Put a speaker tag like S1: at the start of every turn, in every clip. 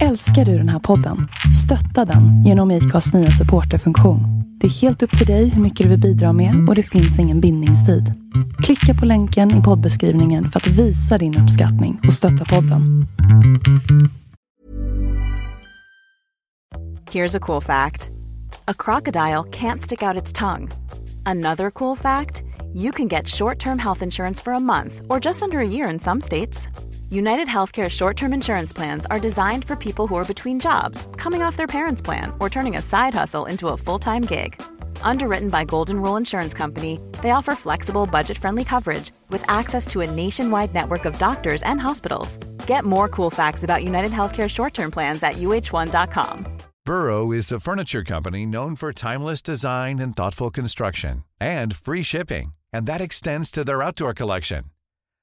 S1: Älskar du den här podden? Stötta den genom IKAs nya supporterfunktion. Det är helt upp till dig hur mycket du vill bidra med och det finns ingen bindningstid. Klicka på länken i poddbeskrivningen för att visa din uppskattning och stötta podden.
S2: Here's a cool fact a crocodile can't stick out its tongue. Another cool fact you can get short term health insurance for a month or just under a year in some states. United Healthcare short term insurance plans are designed for people who are between jobs, coming off their parents' plan, or turning a side hustle into a full time gig. Underwritten by Golden Rule Insurance Company, they offer flexible, budget friendly coverage with access to a nationwide network of doctors and hospitals. Get more cool facts about United Healthcare short term plans at uh1.com.
S3: Burrow is a furniture company known for timeless design and thoughtful construction and free shipping, and that extends to their outdoor collection.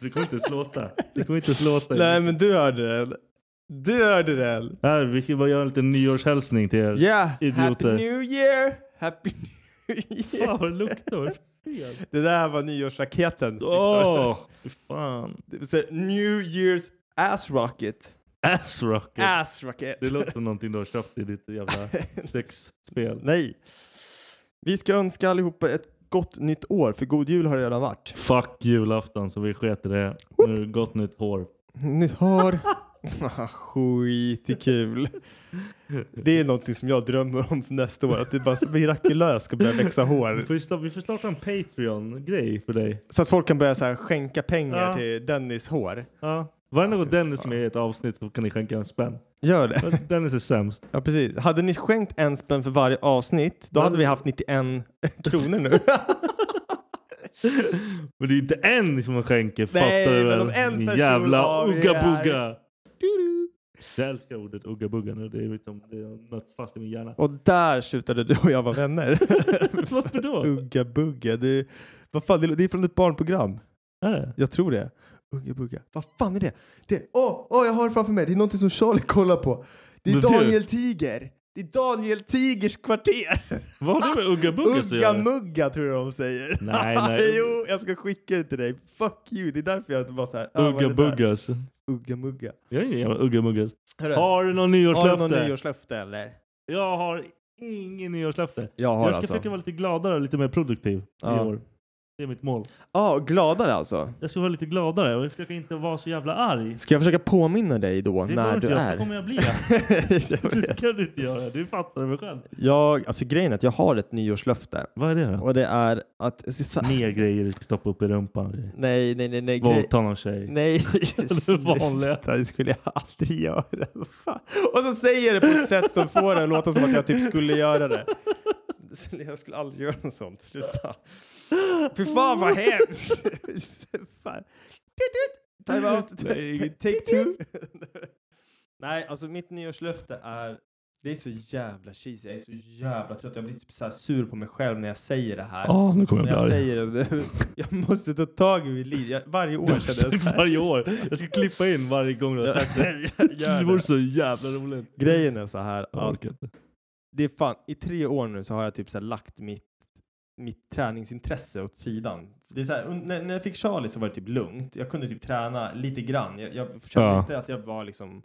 S4: Det kommer inte slåta. Det kommer inte slåta.
S5: Nej men du hörde den. Du hörde den.
S4: Här, vi ska bara göra en liten nyårshälsning till er.
S5: Ja, happy
S4: Idioter.
S5: new year! Happy new year!
S4: Fan vad det luktar. Vad är det för fel?
S5: Det där var nyårsraketen. Viktor.
S4: Åh! fy fan.
S5: Det vill säga, New year's ass rocket.
S4: Ass rocket.
S5: Ass rocket.
S4: Det låter som någonting du har köpt i ditt jävla sexspel.
S5: Nej. Vi ska önska allihopa ett gott nytt år, för god jul har det redan varit.
S4: Fuck julafton så vi sket i det. Nu är det gott nytt hår.
S5: Nytt hår. Ah, Skitkul. Det är någonting som jag drömmer om för nästa år. Att det bara mirakulöst ska börja växa hår.
S4: Vi får, ju sta- vi får starta en Patreon-grej för dig.
S5: Så att folk kan börja så här skänka pengar
S4: Ja.
S5: till Dennis hår.
S4: Ja. Varenda gång Dennis är med i ett avsnitt så kan ni skänka en spänn.
S5: Gör det.
S4: Dennis är sämst.
S5: Ja, precis. Hade ni skänkt en spänn för varje avsnitt, då hade vi haft 91 kronor nu.
S4: Men det är inte en som skänker.
S5: Nej,
S4: fattar du
S5: men
S4: väl?
S5: om en
S4: Din
S5: person
S4: Jävla
S5: har vi
S4: ugga-bugga. Jag älskar ordet ugga-bugga nu. Det är liksom, det har nötts fast i min hjärna.
S5: Och där slutade du och jag vara vänner.
S4: Varför då?
S5: Ugga bugga. Det, är- vad fan, det är- det är från ett barnprogram.
S4: Är det?
S5: Jag tror det. Ugga bugga. Vad fan är det? det åh, åh, jag har det framför mig. Det är någonting som Charlie kollar på. Det är
S4: Men du-
S5: Daniel Tiger. Det är Daniel Tigers kvarter.
S4: Vad har det med ugga-bugga att
S5: Ugga
S4: göra?
S5: mugga tror jag de säger.
S4: Nej, nej.
S5: jo, jag ska skicka det till dig. Fuck you. Det är därför jag var så här. ah, vad är det där?
S4: Ugga-buggas.
S5: Ugga mugga.
S4: Jag är ingen jävla ugga-muggas.
S5: Hörru,
S4: Har du någon
S5: har du
S4: nyårslöfte?
S5: någon nyårslöfte eller?
S4: Jag har ingen nyårslöfte.
S5: Jag har
S4: Jag ska
S5: alltså.
S4: försöka vara lite gladare och lite mer produktiv
S5: Ja.
S4: i år. Det är mitt mål.
S5: Ja, gladare alltså.
S4: Jag ska vara lite gladare och jag försöker inte vara så jävla arg.
S5: Ska jag försöka påminna dig då
S4: Det
S5: när
S4: går inte
S5: du
S4: jag,
S5: är?
S4: så kommer jag bli.
S5: Jag
S4: Det
S5: vet.
S4: kan du inte göra. Du fattar väl själv.
S5: jag, alltså grejen är att jag har ett nyårslöfte
S4: Vad är det då?
S5: och det är att...
S4: Mer grejer du ska stoppa upp i rumpan.
S5: Nej, nej, nej, nej. grej-
S4: Våldta någon tjej.
S5: Nej,
S4: vanliga.
S5: Sluta, det skulle jag aldrig göra. Vad fan. Och så säger jag det på ett sätt som får det att låta som att jag typ skulle göra det. Så Jag skulle aldrig göra något sånt, sluta. Fy fan vad hemskt! Fan. Tut, tut. Time out,
S4: Nej,
S5: take two. Nej, alltså mitt nyårslöfte är, det är så jävla cheesy, jag är så jävla trött, jag blir typ så här sur på mig själv när jag säger det här.
S4: Ja, nu kommer
S5: När
S4: jag
S5: jag
S4: bli arg.
S5: säger det nu, jag måste ta tag i mitt liv. Jag, varje år
S4: Du har
S5: känner
S4: sagt
S5: jag så här.
S4: varje år. Jag ska klippa in varje gång du har sagt det.
S5: gör
S4: Det vore
S5: det.
S4: så jävla roligt.
S5: Grejen är så här
S4: Jag
S5: att
S4: orkar inte.
S5: det är fan, i tre år nu så har jag typ så här lagt mitt mitt träningsintresse åt sidan. Det är så här, und- när, när jag fick Charlie så var det typ lugnt. Jag kunde typ träna lite grann. Jag, jag kände
S4: Ja.
S5: inte att jag var liksom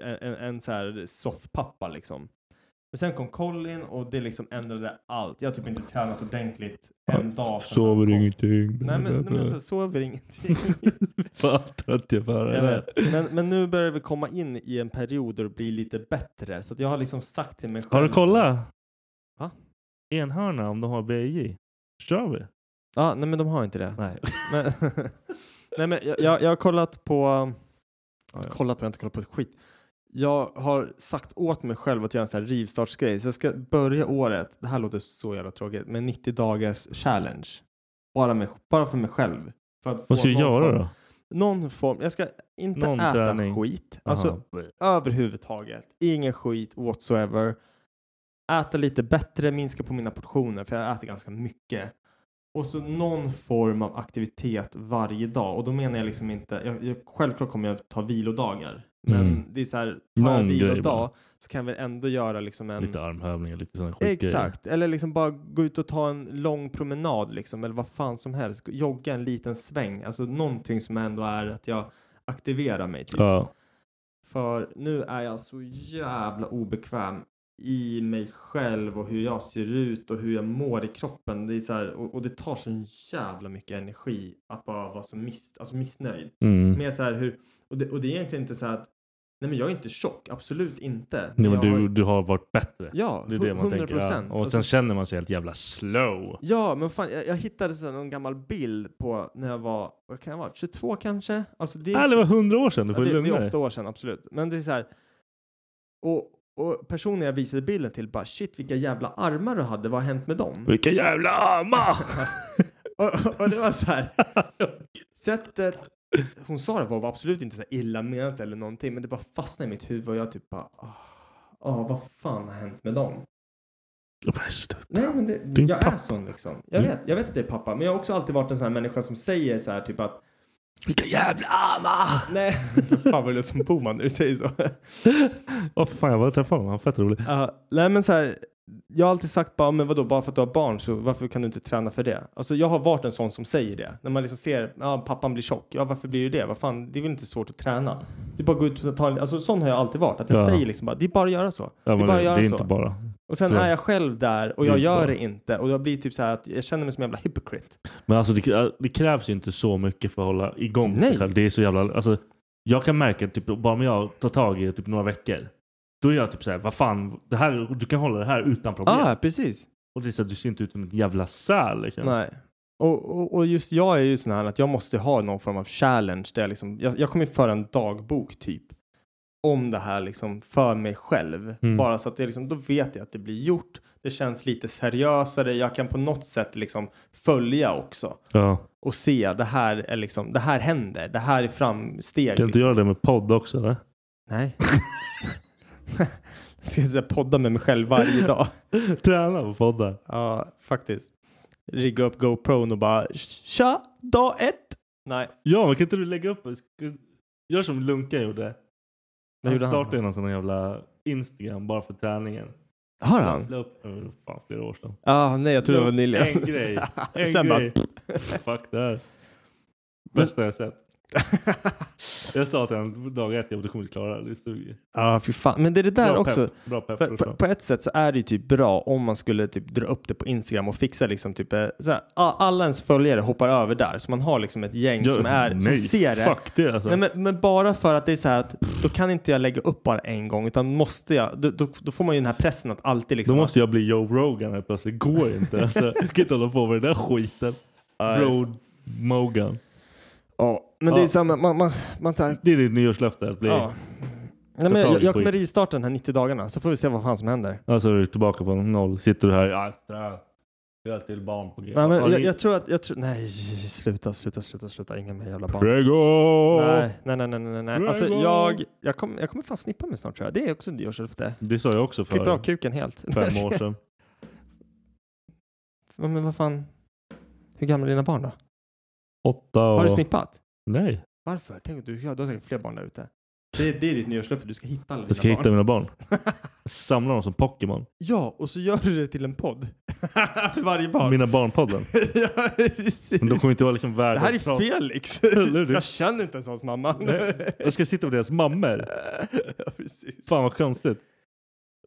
S5: en, en, en så här soffpappa liksom. Men sen kom Colin och det liksom ändrade allt. Jag har typ inte tränat ordentligt en dag. sedan han
S4: Sover
S5: kom.
S4: ingenting.
S5: Nej men, nej, men alltså, sover ingenting.
S4: Fan trött jag var.
S5: Jag vet. Men, men nu börjar vi komma in i en period då det blir lite bättre. Så att jag har liksom sagt till mig själv.
S4: Har du kollat?
S5: Va?
S4: Enhörna om de har BJ. Kör vi?
S5: Ja, nej men de har inte det.
S4: Nej.
S5: Men, nej men jag, jag, jag har kollat på... Jag
S4: Ja,
S5: har
S4: ja.
S5: kollat på, jag har inte kollat på ett skit. Jag har sagt åt mig själv att göra en sån här rivstartsgrej. Så jag ska börja året, det här låter så jävla tråkigt, med 90 dagars challenge. Bara, med, bara för mig själv. För att
S4: Vad
S5: få
S4: ska du
S5: någon
S4: göra
S5: form-
S4: då?
S5: Någon form, jag ska inte
S4: Någon
S5: äta
S4: träning.
S5: skit. Alltså
S4: Jaha.
S5: överhuvudtaget. Ingen skit whatsoever. Äta lite bättre, minska på mina portioner för jag äter ganska mycket. Och så någon form av aktivitet varje dag. Och då menar jag liksom inte, jag, jag, självklart kommer jag ta vilodagar. Men
S4: Mm.
S5: det är så här, tar jag
S4: Någon grej
S5: vilodag
S4: bara.
S5: så kan vi ändå göra liksom en...
S4: Lite armhävningar, lite sådana skitgrejer.
S5: Exakt, eller liksom bara gå ut och ta en lång promenad liksom, eller vad fan som helst. Jogga en liten sväng, alltså någonting som ändå är att jag aktiverar mig. Typ.
S4: Ja.
S5: För nu är jag så jävla obekväm i mig själv och hur jag ser ut och hur jag mår i kroppen. Det är så här, och, och det tar så jävla mycket energi att bara vara så miss, alltså missnöjd.
S4: Mm.
S5: Med så här hur, och, det, och det är egentligen inte så här att nej men jag är inte tjock, absolut inte.
S4: Nej, men
S5: jag
S4: du,
S5: har,
S4: du har varit bättre.
S5: ja,
S4: Det är det man
S5: 100%.
S4: tänker. Ja. Och
S5: Alltså,
S4: sen känner man sig helt jävla slow.
S5: Ja, men fan, jag, jag hittade så här någon gammal bild på när jag var, vad kan jag vara, 22 kanske? Alltså det,
S4: Nej, Äh, det var hundra år sedan. Du
S5: Ja,
S4: får
S5: det, det
S4: lugna
S5: är
S4: dig.
S5: åtta år sedan, absolut. Men det är så här. Och, och personen jag visade bilden till bara shit vilka jävla armar du hade, vad har hänt med dem?
S4: Vilka jävla armar!
S5: och, och, och det var så här. Sättet hon sa det var, var absolut inte så här illa menat eller någonting, men det bara fastnade i mitt huvud och jag typ bara ah, ah, vad fan har hänt med dem?
S4: De är slut.
S5: Nej men det,
S4: Du är en
S5: jag är
S4: pappa.
S5: sån liksom. Jag
S4: Du-
S5: vet, jag vet att det är pappa, men jag har också alltid varit en sån här människa som säger så här typ att
S4: Vilka jävla armar!
S5: nej, för fan vad det låter som Boman när du säger så.
S4: Åh fan, jag var träffade honom. Han var fett rolig.
S5: Ja, nej men så här, jag har alltid sagt bara, men vadå, bara för att du har barn så varför kan du inte träna för det? Alltså jag har varit en sån som säger det. När man liksom ser, ja pappan blir tjock, ja varför blir du det? Vad fan, det är väl inte svårt att träna? Det är bara att gå ut och ta en, alltså sån har jag alltid varit. Att jag
S4: Ja.
S5: säger liksom bara, det är bara att göra så.
S4: Ja,
S5: det är
S4: men
S5: bara
S4: det,
S5: att
S4: det
S5: göra
S4: är
S5: så.
S4: inte bara.
S5: Och sen
S4: så.
S5: är jag själv där och
S4: Det är
S5: jag
S4: inte
S5: gör
S4: bara.
S5: det inte. Och jag blir typ så här att jag känner mig som en jävla hypocrite.
S4: Men alltså det, det krävs ju inte så mycket för att hålla igång
S5: Nej.
S4: sig själv. Det är så jävla... Alltså, jag kan märka typ, bara om jag tar tag i det typ några veckor. Då är jag typ såhär, vad fan, det här, du kan hålla det här utan problem.
S5: Ah. precis.
S4: Och det är så här, du ser inte ut som ett jävla säl liksom.
S5: Nej. Och, och, och just jag är ju sån här att jag måste ha någon form av challenge. Där jag, liksom, jag, jag kommer ju föra en dagbok typ. Om det här liksom för mig själv.
S4: Mm.
S5: Bara så att det liksom, då vet jag att det blir gjort. Det känns lite seriösare. Jag kan på något sätt liksom följa också.
S4: Ja.
S5: Och se det här är liksom, det här händer. Det här är framsteg.
S4: Kan du inte
S5: liksom.
S4: göra det med podd också eller?
S5: Nej. jag ska så här podda med mig själv varje dag.
S4: Träna på poddar.
S5: Ja, faktiskt. Rigga upp GoPron och bara tja, dag ett. Nej,
S4: Ja, men kan inte du lägga upp? ska- Gör som Lunka gjorde.
S5: det
S4: Han
S5: gjorde han.
S4: startade ju någon sån här jävla Instagram bara för träningen.
S5: Har han?
S4: La upp, eh, fan flera år sedan.
S5: Ja, nej jag tror det var nyligen.
S4: En grej. En
S5: Sen bara-
S4: grej. Fuck det här. Bästa jag sett. Jag sa till honom dag ett, jag bara, du kommer inte klara det. Det suger.
S5: Ja, fy fan. Men det är det där
S4: Bra
S5: också.
S4: Pepp. Bra pepp.
S5: För, på,
S4: brorsan.
S5: på ett sätt så är det ju typ bra om man skulle typ dra upp det på Instagram och fixa liksom typ eh, så här, a- alla ens följare hoppar över där så man har liksom ett gäng
S4: Ja,
S5: som, är, som
S4: nej,
S5: ser det.
S4: Fuck det alltså.
S5: Nej, men, men bara för att det är så här att då kan inte jag lägga upp bara en gång utan måste jag, då, då, då får man ju den här pressen att alltid liksom
S4: Då måste jag bli Joe Rogan helt plötsligt. Det går inte. Alltså, jag kan inte hålla på med den där skiten.
S5: Nej.
S4: Bro Mogan.
S5: Ja, men det är
S4: Ja.
S5: samma, man, man, man så här,
S4: Det är ditt nyårslöfte. Att bli,
S5: ja. Nej, men
S4: tag
S5: jag,
S4: i
S5: jag kommer
S4: skit.
S5: rivstarta den här 90 dagarna så får vi se vad fan som händer.
S4: Alltså du är tillbaka på noll. Sitter du här. Jag är trött. Jag är till barn på grejer.
S5: Nej, men
S4: Ja,
S5: jag,
S4: det-
S5: jag tror att, jag tror, nej sluta, sluta, sluta, sluta, inga mer jävla barn.
S4: Prego!
S5: Nej, nej, nej, nej, nej, nej.
S4: Prego!
S5: Alltså jag, jag, kom, jag kommer fan snippa mig snart tror jag. Det är också en nyårslöfte.
S4: Det sa jag också för
S5: Klipper av kuken helt.
S4: fem år sedan.
S5: Ja, men vad fan, hur gamla är dina barn då?
S4: Åtta och...
S5: Har du snippat?
S4: Nej.
S5: Varför? Tänk att du, ja, du har säkert fler barn där ute. Det, är- det är ditt nyårslöfte, du ska hitta alla dina
S4: Jag ska
S5: barn.
S4: hitta mina barn. Jag ska Samla dem som Pokémon.
S5: Ja, och så gör du det till en podd. För varje barn.
S4: Mina barnpodden.
S5: ja, precis.
S4: Men de kommer inte vara liksom värda
S5: Det här
S4: att
S5: är
S4: prata-
S5: Felix.
S4: Eller hur?
S5: Jag känner inte ens hans mamma.
S4: Nej. Jag ska sitta med deras mammor.
S5: ja, precis.
S4: Fan vad konstigt.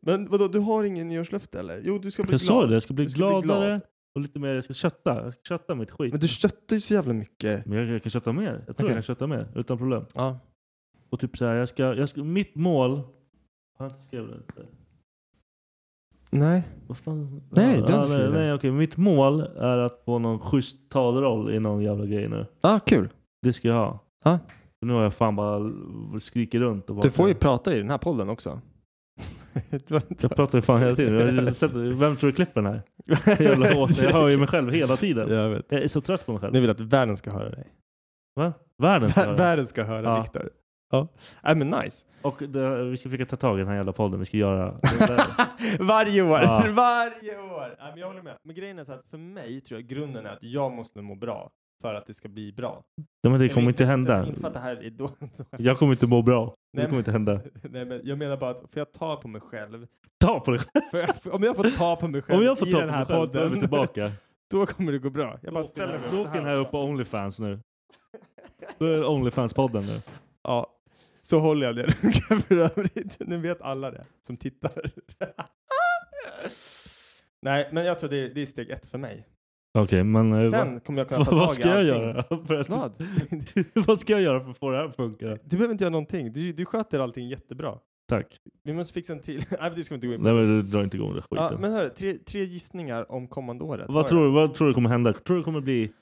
S5: Men vadå, du har ingen nyårslöfte eller? Jo, du ska bli
S4: Jag
S5: glad.
S4: sa det, jag ska bli
S5: Du ska bli glad.
S4: gladare och lite mer, jag ska kötta. Jag ska kötta mitt skit.
S5: Men
S4: Men,
S5: du köttar ju så jävla mycket.
S4: jag, jag kan kötta mer. Jag tror
S5: Okej.
S4: jag kan kötta mer utan problem.
S5: Ja.
S4: Och typ så här, jag ska, jag ska, mitt mål... Fan, jag skrev det inte.
S5: Nej.
S4: Vad fan?
S5: Nej,
S4: ja,
S5: du
S4: ja,
S5: har inte
S4: nej,
S5: skrivit det.
S4: nej, okej. Mitt mål är att få någon schysst talroll i någon jävla grej nu.
S5: Ah, kul.
S4: Det ska jag ha.
S5: Ja.
S4: För Nu har jag fan bara skriker runt. Och bara,
S5: Du får ju prata i den här podden också. Det var inte-
S4: Jag pratar ju fan hela tiden. Jag har ju sett, vem tror du klipper den här? Jävla hårt. Jag hör ju mig själv hela tiden.
S5: Jag vet.
S4: Jag är så trött på mig själv.
S5: Nu vill jag att världen ska höra dig.
S4: Va? Världen ska
S5: Vär-
S4: höra.
S5: Världen ska höra
S4: Ja.
S5: Viktor. Ja. Nej men nice.
S4: Och det, vi ska försöka ta tag i den här jävla podden. Vi ska göra...
S5: Varje år.
S4: Ja.
S5: Varje år. Nej, men jag håller med. Men grejen är så att för mig tror jag grunden är att jag måste må bra för att det ska bli bra.
S4: Ja, men det kommer
S5: Eller
S4: inte hända.
S5: Inte för att det här är dåligt.
S4: Jag kommer inte må bra.
S5: Nej,
S4: Det kommer
S5: men-
S4: inte hända.
S5: Nej, men jag menar bara att får jag ta på mig själv?
S4: Ta på dig själv.
S5: Får jag, om jag får ta på mig själv
S4: Om jag får
S5: i
S4: ta på
S5: den här
S4: mig själv då är vi
S5: podden,
S4: tillbaka.
S5: då kommer det gå bra. Jag bara ställer mig
S4: Då
S5: så
S4: åker den här upp på Onlyfans nu. Då är det Onlyfans-podden nu.
S5: Ja, så håller jag det runken för övrigt. Nu vet alla det som tittar. Nej, men jag tror det är, det är steg ett för mig.
S4: Okej, men... eh,
S5: Sen kommer jag kunna
S4: vad,
S5: ta tag
S4: vad
S5: i
S4: ska jag
S5: allting.
S4: göra? För att,
S5: Vad?
S4: vad ska jag göra för att få det här att funka?
S5: Du behöver inte göra någonting. Du, du sköter allting jättebra.
S4: Tack.
S5: Vi måste fixa en till. Nej, men det ska vi inte gå in på.
S4: Nej, men du drar inte igång den skiten.
S5: Ja, men hörru, tre, tre gissningar om kommande året.
S4: Vad tror, du, vad tror du kommer hända? Tror du det kommer bli...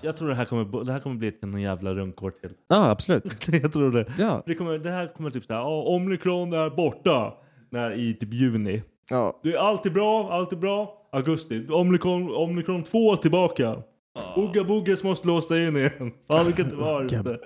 S4: Jag tror det här kommer, det här kommer bli till någon jävla rundkår till.
S5: Ja, absolut.
S4: Jag tror det.
S5: Ja.
S4: Det, kommer, det här kommer typ såhär, oh, omikron är borta. När i typ juni.
S5: ja.
S4: Det är alltid bra, alltid bra. Augusti, omikron, omikron 2 tillbaka.
S5: Ah.
S4: Ugga Bugges måste låsa in igen. Fan, vi kan inte vara ute.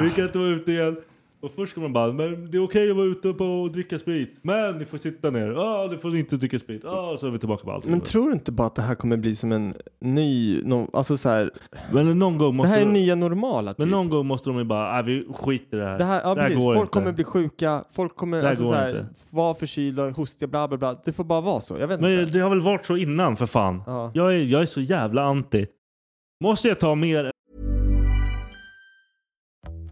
S4: Vi kan inte vara ute igen. Och först kommer man bara, men det är okej att vara ute på och dricka sprit. Men ni får sitta ner. Ah, ni får inte dricka sprit. Ah, så är vi tillbaka på allt.
S5: Men tror du inte bara att det här kommer bli som en ny, no, alltså så här,
S4: Men någon gång
S5: det
S4: måste...
S5: här är
S4: vi-
S5: nya normala typ.
S4: Men någon gång måste de ju bara, äh, vi skiter i det här.
S5: Det här, ja, precis.
S4: går
S5: Folk
S4: inte.
S5: kommer bli sjuka, folk kommer
S4: Det här
S5: alltså,
S4: går
S5: så här,
S4: inte.
S5: vara förkylda, hostiga, bla bla bla. Det får bara vara så. Jag vet
S4: Men
S5: inte.
S4: det har väl varit så innan för fan.
S5: Ja.
S4: Jag, är, jag är så jävla anti. Måste jag ta mer?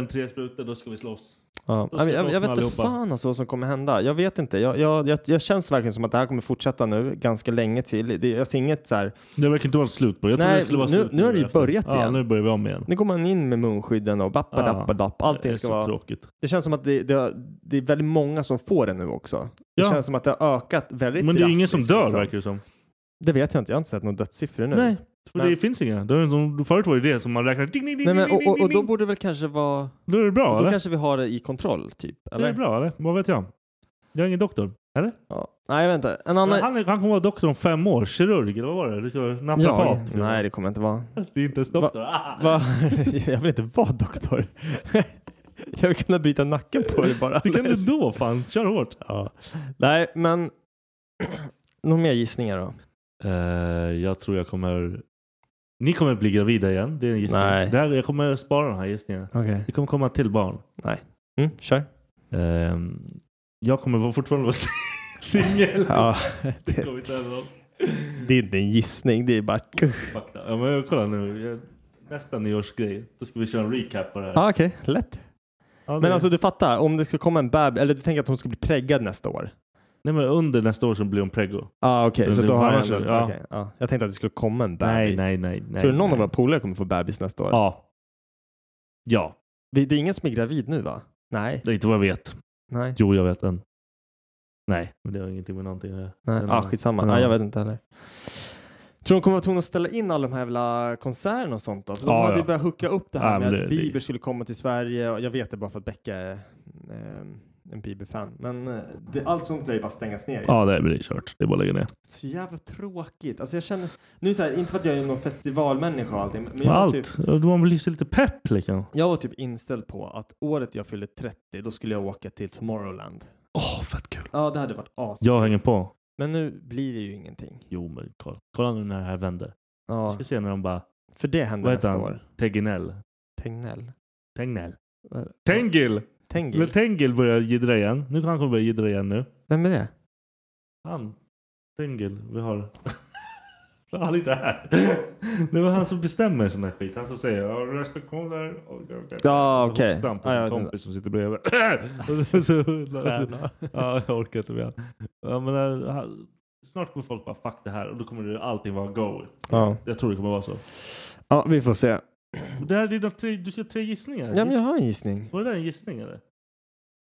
S4: än tre sprutor, då ska vi slåss.
S5: Ja.
S4: Då
S5: Jag,
S4: ska
S5: jag,
S4: vi
S5: jag
S4: slåss
S5: vet
S4: med
S5: inte
S4: allihopa.
S5: fan alltså vad som kommer hända. Jag vet inte. Jag, jag, jag, jag känns verkligen som att det här kommer fortsätta nu ganska länge till. Det, jag ser inget så här.
S4: Det verkar inte vara slut på. Jag
S5: Nej,
S4: trodde det skulle vara
S5: nu-
S4: slut
S5: nu har det ju
S4: efter.
S5: börjat
S4: Ja,
S5: igen.
S4: nu börjar vi om igen.
S5: Nu går man in med munskydden och bappadappadapp.
S4: det
S5: Allting
S4: är
S5: ska
S4: så
S5: vara.
S4: tråkigt.
S5: Det känns som att det, det, det är väldigt många som får det nu också. Det
S4: Ja.
S5: känns som att det har ökat väldigt
S4: Men det är ju ingen som
S5: drastiskt,
S4: dör
S5: liksom.
S4: verkar det som.
S5: Det vet jag inte. Jag har inte sett några dödssiffror nu.
S4: Nej, för
S5: Men-
S4: det finns inga. Det är som, förut var det det som man räknade. Ding, ding, ding,
S5: Nej, men,
S4: ding,
S5: och, och, och då
S4: ding, ding.
S5: borde det väl kanske vara...
S4: Då är det bra
S5: då
S4: eller?
S5: kanske vi har det i kontroll, typ. Eller?
S4: Det är bra eller? Vad vet jag? Jag är ingen doktor. Eller?
S5: Ja. Nej, vänta. En
S4: Han,
S5: annan...
S4: han, han kommer vara doktor om fem år. Kirurg eller vad var det? Du ska vara naprapat.
S5: Nej, det kommer jag inte vara.
S4: Det är inte ens doktor. Ah.
S5: Va? jag vill inte vara doktor. jag vill kunna bryta nacken på dig bara.
S4: Det kan du då fan. Kör hårt.
S5: ja. Nej, men... Några mer gissningar då?
S4: Eh, jag tror jag kommer... Ni kommer bli gravida igen. Det är en gissning.
S5: Nej.
S4: Det här, jag kommer spara den här gissningen.
S5: Okej.
S4: Det kommer komma till barn.
S5: Mm, kör.
S4: Eh, jag kommer vara- fortfarande vara singel.
S5: Ja,
S4: Det
S5: det,
S4: kommer inte hända något.
S5: det är inte en gissning, det är bara...
S4: Fakta. Ja, men kolla nu. Jag, nästa nyårsgrej. Då ska vi köra en recap på det här.
S5: ah, Okej,
S4: Ja,
S5: lätt.
S4: det-
S5: alltså Men alltså du fattar, om det ska komma en bab eller du tänker att hon ska bli preggad nästa år.
S4: Nej men under nästa år så blir hon preggo.
S5: Ah, okej,
S4: Men
S5: så
S4: det
S5: då
S4: var
S5: har han
S4: kanske-
S5: en,
S4: ja.
S5: okej, ja. Jag tänkte att det skulle komma en bebis.
S4: Nej, nej, nej, nej.
S5: Tror du någon
S4: nej.
S5: av våra polare kommer få bebis nästa år?
S4: Ja. Ja,
S5: Vi- Det är ingen som är gravid nu va? Nej.
S4: det är inte vad jag vet.
S5: Nej.
S4: Jo, jag vet en. Nej, men det har ingenting med någonting att göra.
S5: nej.
S4: En
S5: Ah,
S4: annan.
S5: skitsamma.
S4: En
S5: Nej, jag
S4: annan.
S5: vet inte heller. Tror de kommer vara tvungna att ställa in alla de här jävla konserterna och sånt då? För de
S4: Ja,
S5: hade ju
S4: ja.
S5: börjat hooka upp det här
S4: Ja,
S5: med
S4: men
S5: att
S4: det-
S5: Bieber
S4: det-
S5: skulle komma till Sverige. Och jag vet det bara för att Becka är ehm, en Bieber-fan. Men eh, det, allt sånt lär ju bara stängas ner.
S4: Ja, det blir kört. Det är bara att lägga ner.
S5: Så jävla tråkigt. Alltså jag känner, nu så här, inte för att jag är någon festivalmänniska och allting, men jag var,
S4: Allt.
S5: typ,
S4: Man vill ju lite pepp liksom.
S5: jag var typ inställd på att året jag fyllde 30, då skulle jag åka till Tomorrowland.
S4: Åh, fett kul.
S5: Ja, det hade varit as.
S4: Jag hänger på.
S5: Men nu blir det ju ingenting.
S4: Jo, men kolla, kolla nu när det här vänder. Vi
S5: Ja,
S4: ska se när de bara...
S5: för det händer
S4: Vad heter
S5: nästa
S4: han?
S5: år.
S4: Tegnell.
S5: Tegnell.
S4: Tegnell.
S5: Vad är det?
S4: Tengil! När
S5: Tengil.
S4: Tengil börjar jiddra igen. Nu kan han kommer börja jiddra igen nu.
S5: Vem är det?
S4: Han. Tengil. Vi har... han är inte här. Det var han som bestämmer sån här skit. Han som säger "Ja, restriktioner. och- och- och."
S5: Ja,
S4: Så
S5: okej.
S4: hostar han Alltså, på
S5: Ja, jag
S4: sin
S5: vet
S4: kompis som sitter bredvid. Och så- så-
S5: Stjärna.
S4: ja, jag orkar inte med han. ja, men, eh, han- Snart kommer folk bara fuck det här och då kommer det allting vara go.
S5: Ja.
S4: Jag tror det kommer vara så.
S5: ja, vi får se.
S4: Det här är dina tre, du ska ha tre gissningar.
S5: Ja, men jag har en gissning.
S4: Var det där en gissning eller?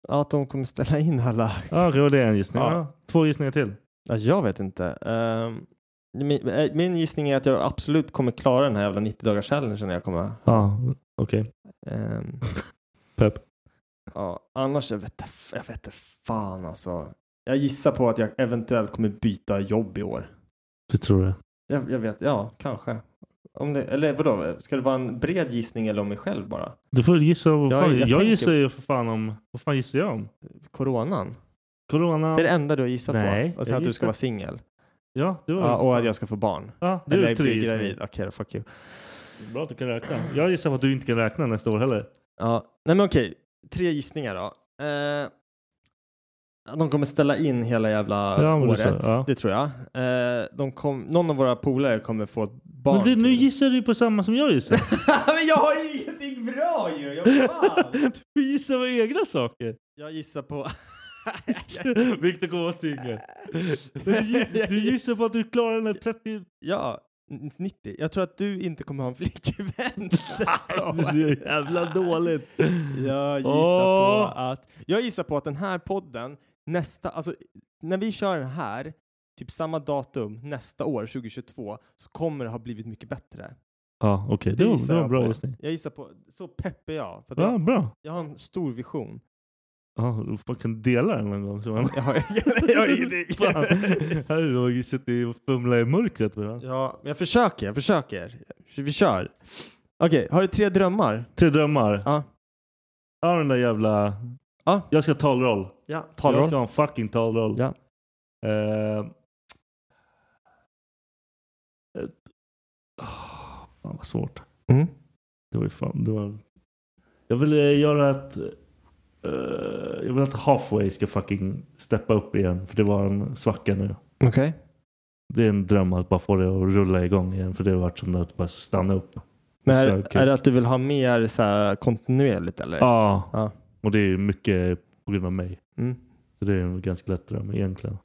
S5: Ja, att de kommer ställa in alla.
S4: Ja, okej, och det är en gissning.
S5: Ja.
S4: Ja. Två gissningar till.
S5: Ja, jag vet inte. Ehm, min, eh, min gissning är att jag absolut kommer klara den här jävla 90 dagars challengen när jag kommer.
S4: Ja, okej.
S5: Ehm,
S4: Pepp.
S5: ja, annars, jag vet, jag vet inte fan alltså. Jag gissar på att jag eventuellt kommer byta jobb i år.
S4: Du tror det?
S5: Jag, jag vet, ja, kanske. Om det, eller vadå, ska det vara en bred gissning eller om mig själv bara?
S4: Du får gissa. Vad
S5: Ja,
S4: fan.
S5: jag
S4: Jag,
S5: tänker-
S4: gissar ju för fan om... Vad fan gissar jag om?
S5: Coronan?
S4: Corona?
S5: Det är det enda du har gissat
S4: Nej,
S5: på? Och sen
S4: jag
S5: att du ska
S4: gissar-
S5: vara singel?
S4: Ja, det var
S5: Ja, och att jag ska få barn?
S4: ja, det
S5: Eller
S4: är
S5: jag
S4: tre
S5: blir
S4: gissningar.
S5: gravid? Okej då, fuck you.
S4: Bra att du kan räkna. Jag gissar på att du inte kan räkna nästa år heller.
S5: Ja, nej men okej. Tre gissningar då. Eh, de kommer ställa in hela jävla
S4: Ja, men det
S5: året.
S4: sa- ja.
S5: Det tror jag. Eh, de kom, någon av våra polare kommer få ett barn.
S4: Men det, nu
S5: till.
S4: gissar du ju på samma som jag gissar.
S5: men jag har ju ingenting bra ju! Jag, fan.
S4: du gissar på egna saker.
S5: jag gissar på...
S4: Viktor kommer vara singel. Du, gi- du gissar på att du klarar den här 30...
S5: ja, 90. Jag tror att du inte kommer ha en flickvän nästa år.
S4: Det är jävla dåligt.
S5: Jag gissar
S4: Åh.
S5: på att... Jag gissar på att den här podden nästa... Alltså, när vi kör den här, typ samma datum nästa år, 2022, så kommer det ha blivit mycket bättre.
S4: Ja, okej. Det, var-
S5: gissar
S4: det var en
S5: jag
S4: bra
S5: på.
S4: gissning.
S5: Jag gissar på... Så pepp är jag. För att
S4: Ja,
S5: jag,
S4: bra.
S5: jag har en stor vision.
S4: Ja, du får- kan dela den någon gång. så man-
S5: Jag har, jag, har ingenting.
S4: Fan. Här har du suttit och fumlat i mörkret. va?
S5: ja, men jag försöker, jag försöker. Vi kör. Okej, har du tre drömmar?
S4: Tre drömmar.
S5: Ja.
S4: Ja, den där jävla...
S5: Ja.
S4: Jag ska ha talroll.
S5: Ja,
S4: Jag
S5: talroll.
S4: ska ha en fucking talroll.
S5: Ja.
S4: Eh, ett- Ah, eh, fan vad svårt.
S5: Mm.
S4: Det var ju fan... Det var... Jag vill eh, göra ett... eh, jag vill att Halfway ska fucking steppa upp igen. För det var en svacka nu.
S5: Okej.
S4: Det är en dröm att bara få det att rulla igång igen. För det har varit som att bara stanna upp.
S5: Men
S4: Så,
S5: är,
S4: okej.
S5: är det att du vill ha mer så här, kontinuerligt eller?
S4: Ja.
S5: Ja.
S4: Och det är ju mycket på grund av mig.
S5: Mm.
S4: Så det är en ganska lätt dröm egentligen.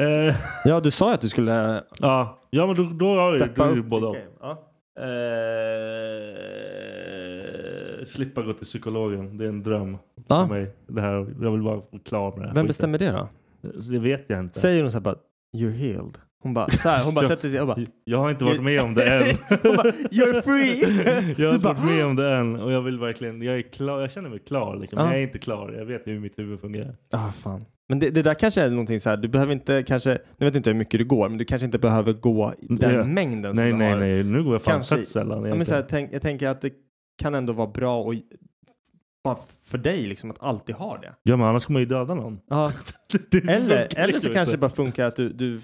S4: Eh,
S5: Ja, du sa ju att du skulle
S4: ja. ja, men då, då har jag då är det ju båda och.
S5: Ja.
S4: Eh, slippa gå till psykologen. Det är en dröm
S5: Ja.
S4: för mig. Det här, jag vill bara vara klar med det här
S5: Vem
S4: skiten.
S5: bestämmer det då?
S4: Det vet jag inte.
S5: Säger hon så här bara “You're healed”? Hon bara, så här, hon bara
S4: Ja.
S5: sätter sig och bara
S4: Jag har inte varit med om det än.
S5: Hon bara, "You're free."
S4: jag har
S5: Du
S4: inte
S5: bara,
S4: varit med om det än. Och jag vill verkligen, jag är klar, jag känner mig klar liksom.
S5: Ja.
S4: Men jag är inte klar. Jag vet hur mitt huvud fungerar.
S5: ah, fan. Men det, det där kanske är någonting så här, du behöver inte kanske, nu vet inte hur mycket du går, men du kanske inte behöver gå i den
S4: Ja. nej,
S5: mängden som du
S4: nej,
S5: har.
S4: nej. Nu går jag fan
S5: Kanske-
S4: fett sällan.
S5: Ja, men så här,
S4: egentligen.
S5: tänk, jag tänker att det kan ändå vara bra och bara för dig liksom att alltid ha det.
S4: Ja, men annars kommer jag ju döda någon.
S5: Ja.
S4: Det- det
S5: Eller,
S4: funkar
S5: eller
S4: liksom
S5: så kanske det
S4: inte.
S5: bara funkar att du... du nu,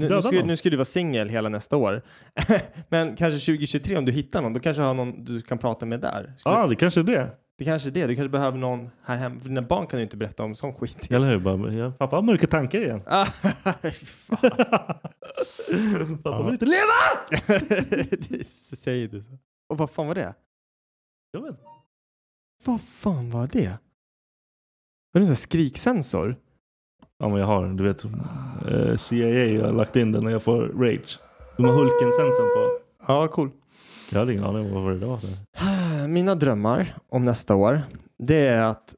S5: nu,
S4: Döda
S5: ska,
S4: någon.
S5: nu ska du vara singel hela nästa år. Men kanske 2023 om du hittar någon, då kanske du har någon du kan prata med där. Skulle-
S4: Ja, det kanske är det.
S5: Det kanske är det. Du kanske behöver någon här hemma. För dina barn kan ju inte berätta om sån skit.
S4: Eller hur? Bara, ja, pappa har mörka tankar igen.
S5: Ah, fan.
S4: Pappa
S5: Ja.
S4: vill inte leva!
S5: Det Säger du så? Och vad fan var det?
S4: Jag vet.
S5: Vad fan var det? Var det en sån här skriksensor?
S4: Ja men jag har den. Du vet eh, CIA har lagt in den när jag får rage. De har Hulken-sensorn på.
S5: Ja, cool.
S4: Jag hade ingen aning om vad det var. för.
S5: Eh, Mina drömmar om nästa år, det är att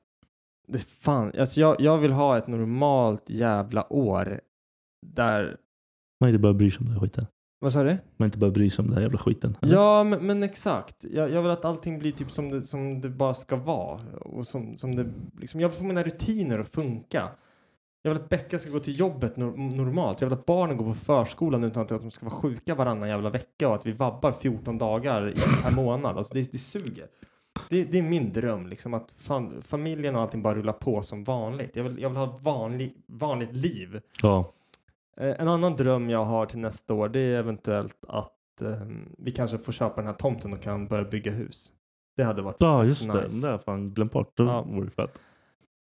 S5: det fan, alltså jag, jag vill ha ett normalt jävla år där,
S4: Man inte bara bryr sig om den här skiten.
S5: vad sa du?
S4: Man inte bara bryr sig om den här jävla skiten.
S5: Ja, men, men exakt. Jag, jag vill att allting blir typ som det, som det bara ska vara. Och som, som det, liksom, jag vill få mina rutiner att funka. Jag vill att Becka ska gå till jobbet nor- normalt. Jag vill att barnen går på förskolan utan att att de ska vara sjuka varannan jävla vecka och att vi vabbar 14 dagar i- per månad. Alltså det, det suger. Det, det är min dröm, liksom att fan, familjen och allting bara rullar på som vanligt. Jag vill, jag vill ha ett vanlig, vanligt liv.
S4: Ja.
S5: Eh, En annan dröm jag har till nästa år det är eventuellt att eh, vi kanske får köpa den här tomten och kan börja bygga hus. Det hade varit
S4: Ja just det. Den
S5: nice.
S4: där har jag fan glömt bort. Det
S5: Ja.
S4: vore fett.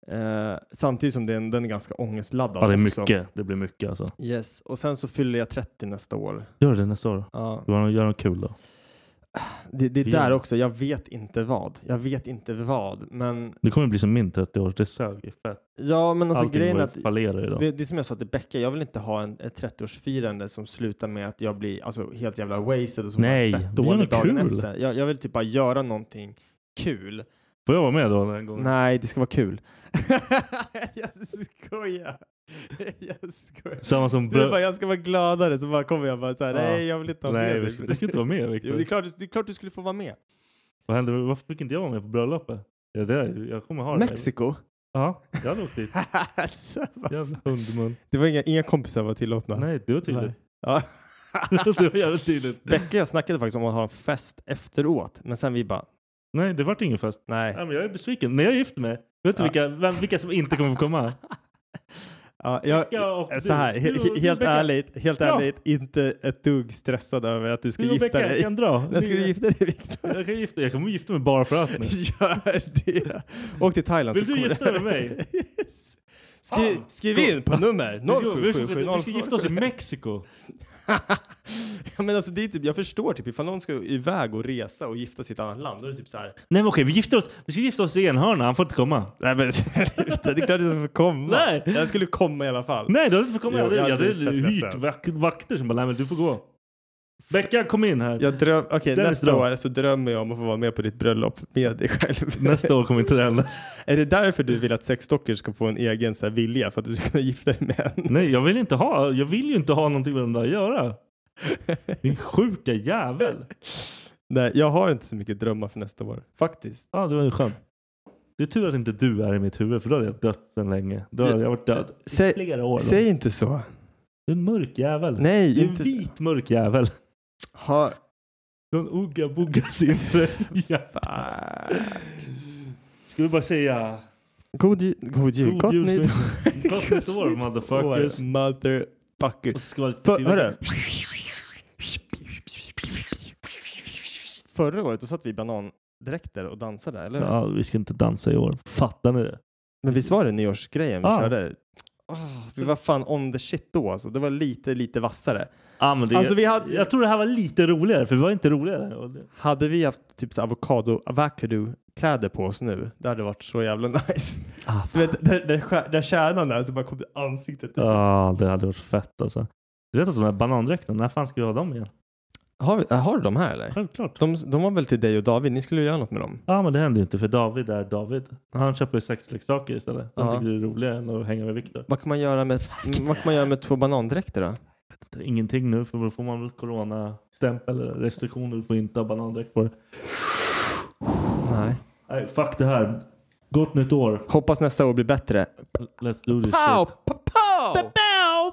S5: Eh, samtidigt som den, den är ganska ångestladdad.
S4: Ja det är
S5: också.
S4: mycket. Det blir mycket alltså.
S5: Yes, och sen så fyller jag 30 nästa år.
S4: Gör det nästa år.
S5: Ja.
S4: Du har- Gör något kul då.
S5: Det, det är
S4: Ja.
S5: där också, jag vet inte vad. Jag vet inte vad, men
S4: Det kommer bli som min 30 år. Det sög ju fett.
S5: ja, men alltså
S4: Allting
S5: grejen är
S4: bara
S5: att
S4: fallerar ju då.
S5: Det, det är som jag sa till Becka, jag vill inte ha en, ett 30-årsfirande som slutar med att jag blir alltså, helt jävla wasted och som
S4: Nej,
S5: är fett
S4: vi gör
S5: dålig
S4: något
S5: dagen
S4: kul.
S5: efter. Jag, jag vill typ bara göra någonting kul.
S4: Får jag vara med då en gång?
S5: Nej, det ska vara kul. jag skojar. Jag skojar.
S4: Samma som
S5: Du
S4: brö-
S5: bara, jag ska vara gladare, så bara kommer jag bara så här,
S4: Ja.
S5: nej jag vill inte ha
S4: Nej,
S5: med
S4: vi
S5: dig."
S4: skulle- du skulle inte vara med
S5: Jo, det, är
S4: Victor.
S5: klart, det är klart du skulle få vara med.
S4: Vad hände? Varför fick inte jag vara med på bröllopet? Ja, det är, jag kommer ha det.
S5: Mexiko?
S4: Ja, jag hade åkt dit.
S5: Alltså, vad-
S4: Jävla hundmun.
S5: det var inga, inga kompisar var tillåtna.
S4: Nej, det var tydligt.
S5: Ja.
S4: det var jävligt tydligt.
S5: Becka och jag snackade faktiskt om att ha en fest efteråt, men sen vi bara,
S4: Nej, det vart ingen fest.
S5: nej.
S4: Nej, men jag är besviken. När jag gifter mig, vet du
S5: Ja.
S4: vilka, vem, vilka som inte kommer få komma?
S5: Ja, jag, Eh,
S4: Becka och
S5: så här,
S4: du.
S5: he-
S4: Du och- du,
S5: helt
S4: Becka.
S5: ärligt, helt
S4: Ja.
S5: ärligt, inte ett dugg stressad över att du ska
S4: Du och
S5: gifta
S4: Becka
S5: dig.
S4: kan dra.
S5: När ska du gifta dig Viktor?
S4: Jag kan gifta Jag kommer gifta mig bara för att nu.
S5: Gör det. Åk till Thailand
S4: Vill
S5: så
S4: du
S5: kommer
S4: gifta dig med mig?
S5: Yes. Skriv,
S4: Fan.
S5: skriv in på nummer
S4: Vi ska, vi, ska,
S5: 0777
S4: vi ska gifta oss i Mexiko.
S5: ja, men alltså, det är typ, Jag förstår typ ifall någon ska iväg och resa och gifta sig i ett annat land. Då är det typ så här.
S4: Nej men okej, vi gifter oss. Vi ska gifta oss i Enhörna. Han får inte komma.
S5: Nej men sluta, det är klart du ska få komma.
S4: Nej.
S5: Jag skulle komma i alla fall.
S4: Nej, du hade inte fått komma.
S5: Jo,
S4: Jag hade,
S5: jag
S4: jag
S5: hade
S4: hade
S5: blivit fett
S4: hyrt
S5: ledsen.
S4: vak- vakter som bara, nej men du får gå. Becka, kom in här.
S5: Jag dröm, okej,
S4: Den är
S5: nästa
S4: bra.
S5: år så drömmer jag om att få vara med på ditt bröllop med dig själv.
S4: Nästa år kommer inte det hända.
S5: Är det därför du vill att sexdockor ska få en egen så här, vilja? För att du ska kunna gifta dig med en?
S4: Nej, jag vill inte ha. Jag vill ju inte ha någonting med de där att göra. Din sjuka jävel.
S5: Nej, jag har inte så mycket drömmar för nästa år. Faktiskt.
S4: Ja, det var ju skönt. Det är tur att inte du är i mitt huvud för då hade jag dött sedan länge. Då hade jag varit död i
S5: Säg-
S4: flera år. Då.
S5: Säg inte så.
S4: Du är en mörk jävel.
S5: Nej,
S4: du är en
S5: inte-
S4: vit mörk jävel.
S5: Ha...
S4: Någon ugga bugga inte. ja. Ska vi bara säga
S5: God, ju- god jul.
S4: God
S5: Gott
S4: jul,
S5: nytt
S4: Gott nytt år, motherfuckers.
S5: år, Motherfucker.
S4: Och så ska vi ha lite
S5: För,
S4: fyrverkeri.
S5: hörru. Förra året då satt vi i banandräkter och dansade, eller hur?
S4: Ja, vi ska inte dansa i år. Fattar ni det?
S5: Men visst var det nyårsgrejen vi
S4: Ja.
S5: körde? Ah, vi var fan on the shit då alltså. Det var lite, lite vassare.
S4: Ja, men
S5: Alltså, vi hade-
S4: Jag tror det här var lite roligare, för vi var inte roligare. Och det-
S5: Hade vi haft typ så avokado, avocado kläder på oss nu, det hade varit så jävla nice.
S4: Ah,
S5: Du vet, där, där, skär- där kärnan är så bara kom i ansiktet ut.
S4: Ja, det hade varit fett alltså. Du vet att de här banandräkterna, när fan ska vi ha dem igen?
S5: Har, vi, äh, har du de här eller?
S4: Självklart.
S5: De, de var väl till dig och David? Ni skulle ju göra något med dem?
S4: Ja, men det händer ju inte för David är David. Han köper ju sexleksaker istället. Han
S5: Ja.
S4: tycker det är roligare än att hänga med Viktor.
S5: Vad kan man göra med, vad kan man göra med två banandräkter då?
S4: Ingenting nu, för då får man väl coronastämpel eller restriktioner. Du får inte ha banandräkt på dig.
S5: Nej.
S4: Nej, fuck det här. Gott nytt år.
S5: Hoppas nästa år blir bättre.
S4: Let's do this
S5: Pow!
S4: shit.
S5: Pow! pow!